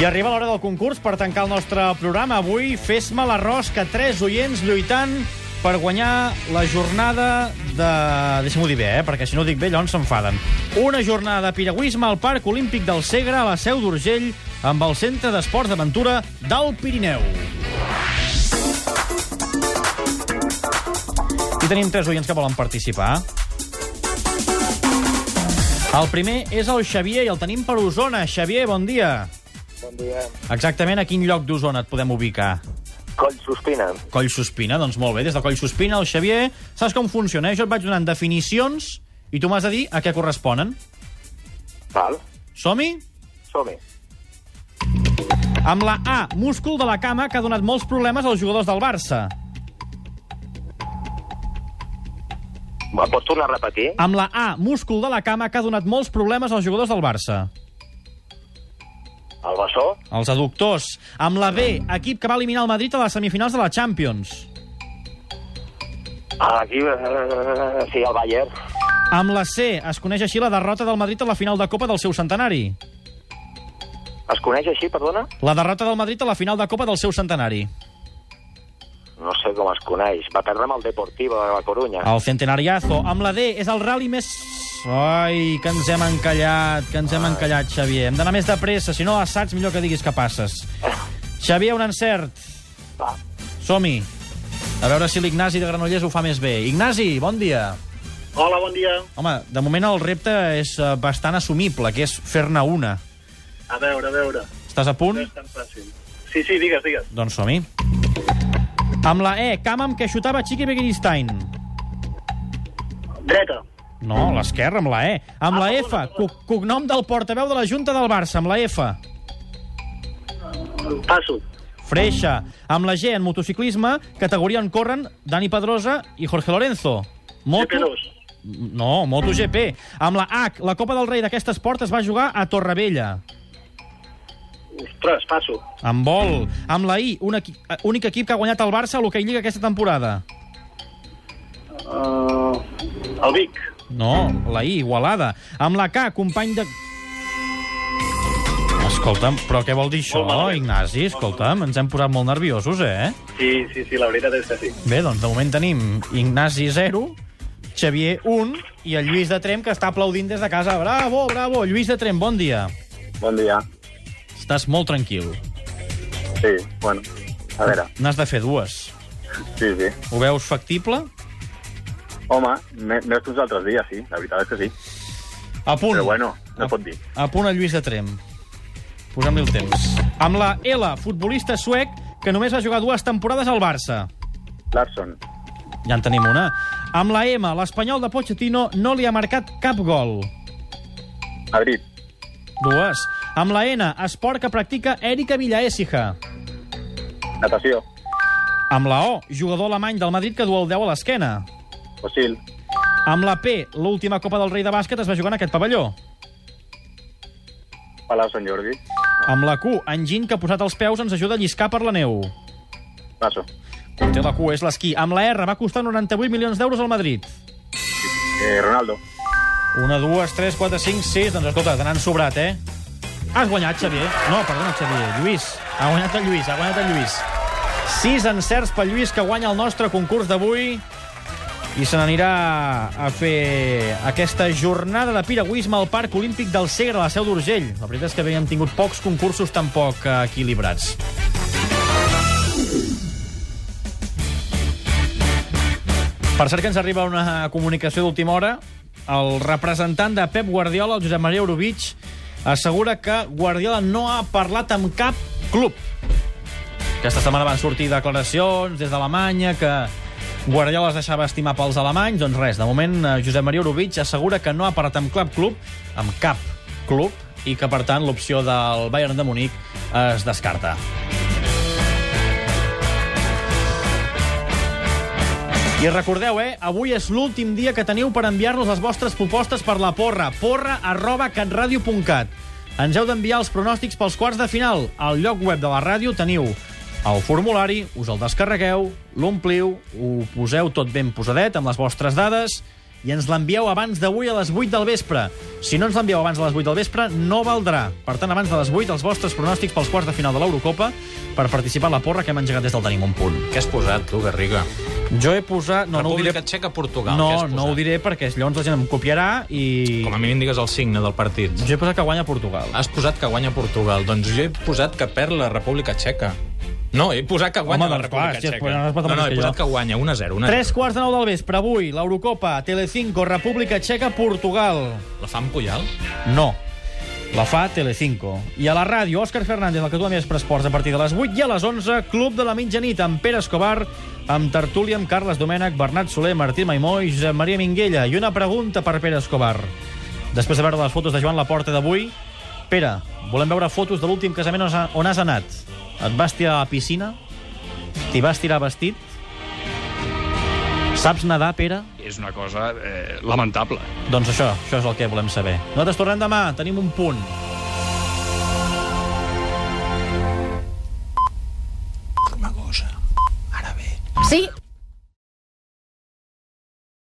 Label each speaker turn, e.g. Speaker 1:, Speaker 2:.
Speaker 1: I arriba l'hora del concurs per tancar el nostre programa. Avui, fes-me l'arròs que tres oients lluitant per guanyar la jornada de... Deixem-ho dir bé, eh? perquè si no ho dic bé, llavors s'enfaden. Una jornada de piragüisme al Parc Olímpic del Segre, a la Seu d'Urgell, amb el Centre d'Esports d'Aventura del Pirineu. I tenim tres oients que volen participar. El primer és el Xavier i el tenim per Osona. Xavier, bon dia.
Speaker 2: Bon dia.
Speaker 1: Exactament a quin lloc d'Osona et podem ubicar?
Speaker 2: Coll Sospina.
Speaker 1: Coll Sospina, doncs molt bé. Des de Coll Sospina, el Xavier... Saps com funciona, eh? Jo et vaig donant definicions i tu m'has de dir a què corresponen.
Speaker 2: Val.
Speaker 1: Som-hi?
Speaker 2: Som-hi.
Speaker 1: Amb la A, múscul de la cama, que ha donat molts problemes als jugadors del Barça.
Speaker 2: Va, Pots tornar a repetir?
Speaker 1: Amb la A, múscul de la cama, que ha donat molts problemes als jugadors del Barça.
Speaker 2: El Bessó?
Speaker 1: Els aductors. Amb la B, equip que va eliminar el Madrid a les semifinals de la Champions.
Speaker 2: Aquí, eh, sí, el Bayern.
Speaker 1: Amb la C, es coneix així la derrota del Madrid a la final de Copa del seu centenari.
Speaker 2: Es coneix així, perdona?
Speaker 1: La derrota del Madrid a la final de Copa del seu centenari.
Speaker 2: No sé com es coneix. Va perdre amb el Deportivo de la Corunya.
Speaker 1: El centenariazo. Amb la D és el rally més... Ai, que ens hem encallat, que ens hem encallat, Xavier. Hem d'anar més de pressa, si no assaig, millor que diguis que passes. Xavier, un encert.
Speaker 2: Eh, Va.
Speaker 1: Som-hi. A veure si l'Ignasi de Granollers ho fa més bé. Ignasi, bon dia.
Speaker 3: Hola, bon dia.
Speaker 1: Home, de moment el repte és eh, bastant assumible, que és fer-ne una.
Speaker 3: A veure, a veure.
Speaker 1: Estàs a punt?
Speaker 3: No és tan fàcil. Sí, sí, digues, digues.
Speaker 1: Doncs som-hi. Amb la E, cama amb què xutava Chiqui Begiristain.
Speaker 3: Dreta.
Speaker 1: No, l'esquerra, amb la E. Amb la F, co cognom del portaveu de la Junta del Barça, amb la F.
Speaker 3: Passo.
Speaker 1: Freixa. Amb la G, en motociclisme, categoria on corren Dani Pedrosa i Jorge Lorenzo.
Speaker 3: GP2.
Speaker 1: No, MotoGP. Amb la H, la Copa del Rei d'aquest esport es va jugar a Torrevella.
Speaker 3: Ostres, passo.
Speaker 1: Amb vol. Amb la I, un equi eh, únic equip que ha guanyat el Barça a l'Hockey Lliga aquesta temporada.
Speaker 3: Uh, el Vic.
Speaker 1: No, la I, Igualada. Amb la K, company de... Escolta'm, però què vol dir això,
Speaker 3: Molt malament.
Speaker 1: Ignasi? Escolta'm, ens hem posat molt nerviosos, eh?
Speaker 3: Sí, sí, sí, la veritat és que sí.
Speaker 1: Bé, doncs de moment tenim Ignasi 0, Xavier 1 i el Lluís de Trem, que està aplaudint des de casa. Bravo, bravo! Lluís de Trem, bon dia.
Speaker 2: Bon dia.
Speaker 1: Estàs molt tranquil.
Speaker 2: Sí, bueno. A veure,
Speaker 1: N'has de fer dues.
Speaker 2: sí, sí.
Speaker 1: Ho veus factible?
Speaker 2: Home, més que uns altres dies, sí. La veritat és que sí.
Speaker 1: A punt.
Speaker 2: Però bueno, no
Speaker 1: a,
Speaker 2: pot dir.
Speaker 1: A punt el Lluís de Trem. Posem-li el temps. Amb la L, futbolista suec, que només va jugar dues temporades al Barça.
Speaker 2: Larson.
Speaker 1: Ja en tenim una. Amb la M, l'Espanyol de Pochettino no li ha marcat cap gol.
Speaker 2: Madrid.
Speaker 1: Dues. Amb la N, esport que practica Erika Villaécija.
Speaker 2: Natació.
Speaker 1: Amb la O, jugador alemany del Madrid que du el 10 a l'esquena.
Speaker 2: Fossil.
Speaker 1: Amb la P, l'última Copa del Rei de Bàsquet es va jugar en aquest pavelló.
Speaker 2: Palau Sant Jordi.
Speaker 1: Amb la Q, enginy que ha posat els peus ens ajuda a lliscar per la neu.
Speaker 2: Passo.
Speaker 1: Conté la Q, és l'esquí. Amb la R va costar 98 milions d'euros al Madrid.
Speaker 2: Eh, Ronaldo.
Speaker 1: Una, dues, tres, quatre, cinc, sis... Doncs escolta, te n'han sobrat, eh? Has guanyat, Xavier. No, perdona, Xavier. Lluís. Ha guanyat el Lluís, ha guanyat el Lluís. Sis encerts pel Lluís, que guanya el nostre concurs d'avui i se n'anirà a fer aquesta jornada de piragüisme al Parc Olímpic del Segre, a la Seu d'Urgell. La veritat és que havíem tingut pocs concursos tan poc eh, equilibrats. Per cert que ens arriba una comunicació d'última hora. El representant de Pep Guardiola, el Josep Maria Orovich, assegura que Guardiola no ha parlat amb cap club. Aquesta setmana van sortir declaracions des d'Alemanya que Guardiola es deixava estimar pels alemanys. Doncs res, de moment eh, Josep Maria Orovich assegura que no ha parlat amb cap club, amb cap club, i que, per tant, l'opció del Bayern de Munic es descarta. I recordeu, eh, avui és l'últim dia que teniu per enviar-nos les vostres propostes per la porra. Porra arroba catradio.cat. Ens heu d'enviar els pronòstics pels quarts de final. Al lloc web de la ràdio teniu el formulari, us el descarregueu, l'ompliu, ho poseu tot ben posadet amb les vostres dades i ens l'envieu abans d'avui a les 8 del vespre. Si no ens l'envieu abans de les 8 del vespre, no valdrà. Per tant, abans de les 8, els vostres pronòstics pels quarts de final de l'Eurocopa per participar a la porra que hem engegat des del Tenim un punt.
Speaker 4: Què has posat, tu, Garriga?
Speaker 1: Jo he posat... No, no ho diré...
Speaker 4: República Txeca, Portugal. què
Speaker 1: No,
Speaker 4: has
Speaker 1: no
Speaker 4: posat?
Speaker 1: ho diré perquè llavors la gent em copiarà i...
Speaker 4: Com a Ah, mínim digues el signe del partit.
Speaker 1: Jo he posat que guanya Portugal.
Speaker 4: Has posat que guanya Portugal. Doncs jo he posat que perd la República Txeca. No, he posat que guanya
Speaker 1: Home,
Speaker 4: la
Speaker 1: doncs
Speaker 4: República
Speaker 1: clar, si has
Speaker 4: Txeca.
Speaker 1: posat- has posat
Speaker 4: no, no,
Speaker 1: més
Speaker 4: he
Speaker 1: que
Speaker 4: posat
Speaker 1: jo.
Speaker 4: que guanya 1 a 0. 1 a 0.
Speaker 1: Tres quarts de nou del vespre, avui, l'Eurocopa, Telecinco, República Txeca, Portugal.
Speaker 4: La fan Puyal?
Speaker 1: No. La fa Telecinco. I a la ràdio, Òscar Fernández, el que tu a més per esports, a partir de les 8 i a les 11, Club de la Mitjanit, amb Pere Escobar, amb Tertúlia, amb Carles Domènech, Bernat Soler, Martí Maimó i Josep Maria Minguella. I una pregunta per Pere Escobar. Després de veure les fotos de Joan Laporta d'avui, Pere, volem veure fotos de l'últim casament on has- on has anat. Et vas tirar a la piscina? T'hi vas tirar vestit? Saps nedar, Pere?
Speaker 5: és una cosa eh, lamentable.
Speaker 1: Doncs això, això és el que volem saber. Nosaltres tornem demà, tenim un punt.
Speaker 6: Sí,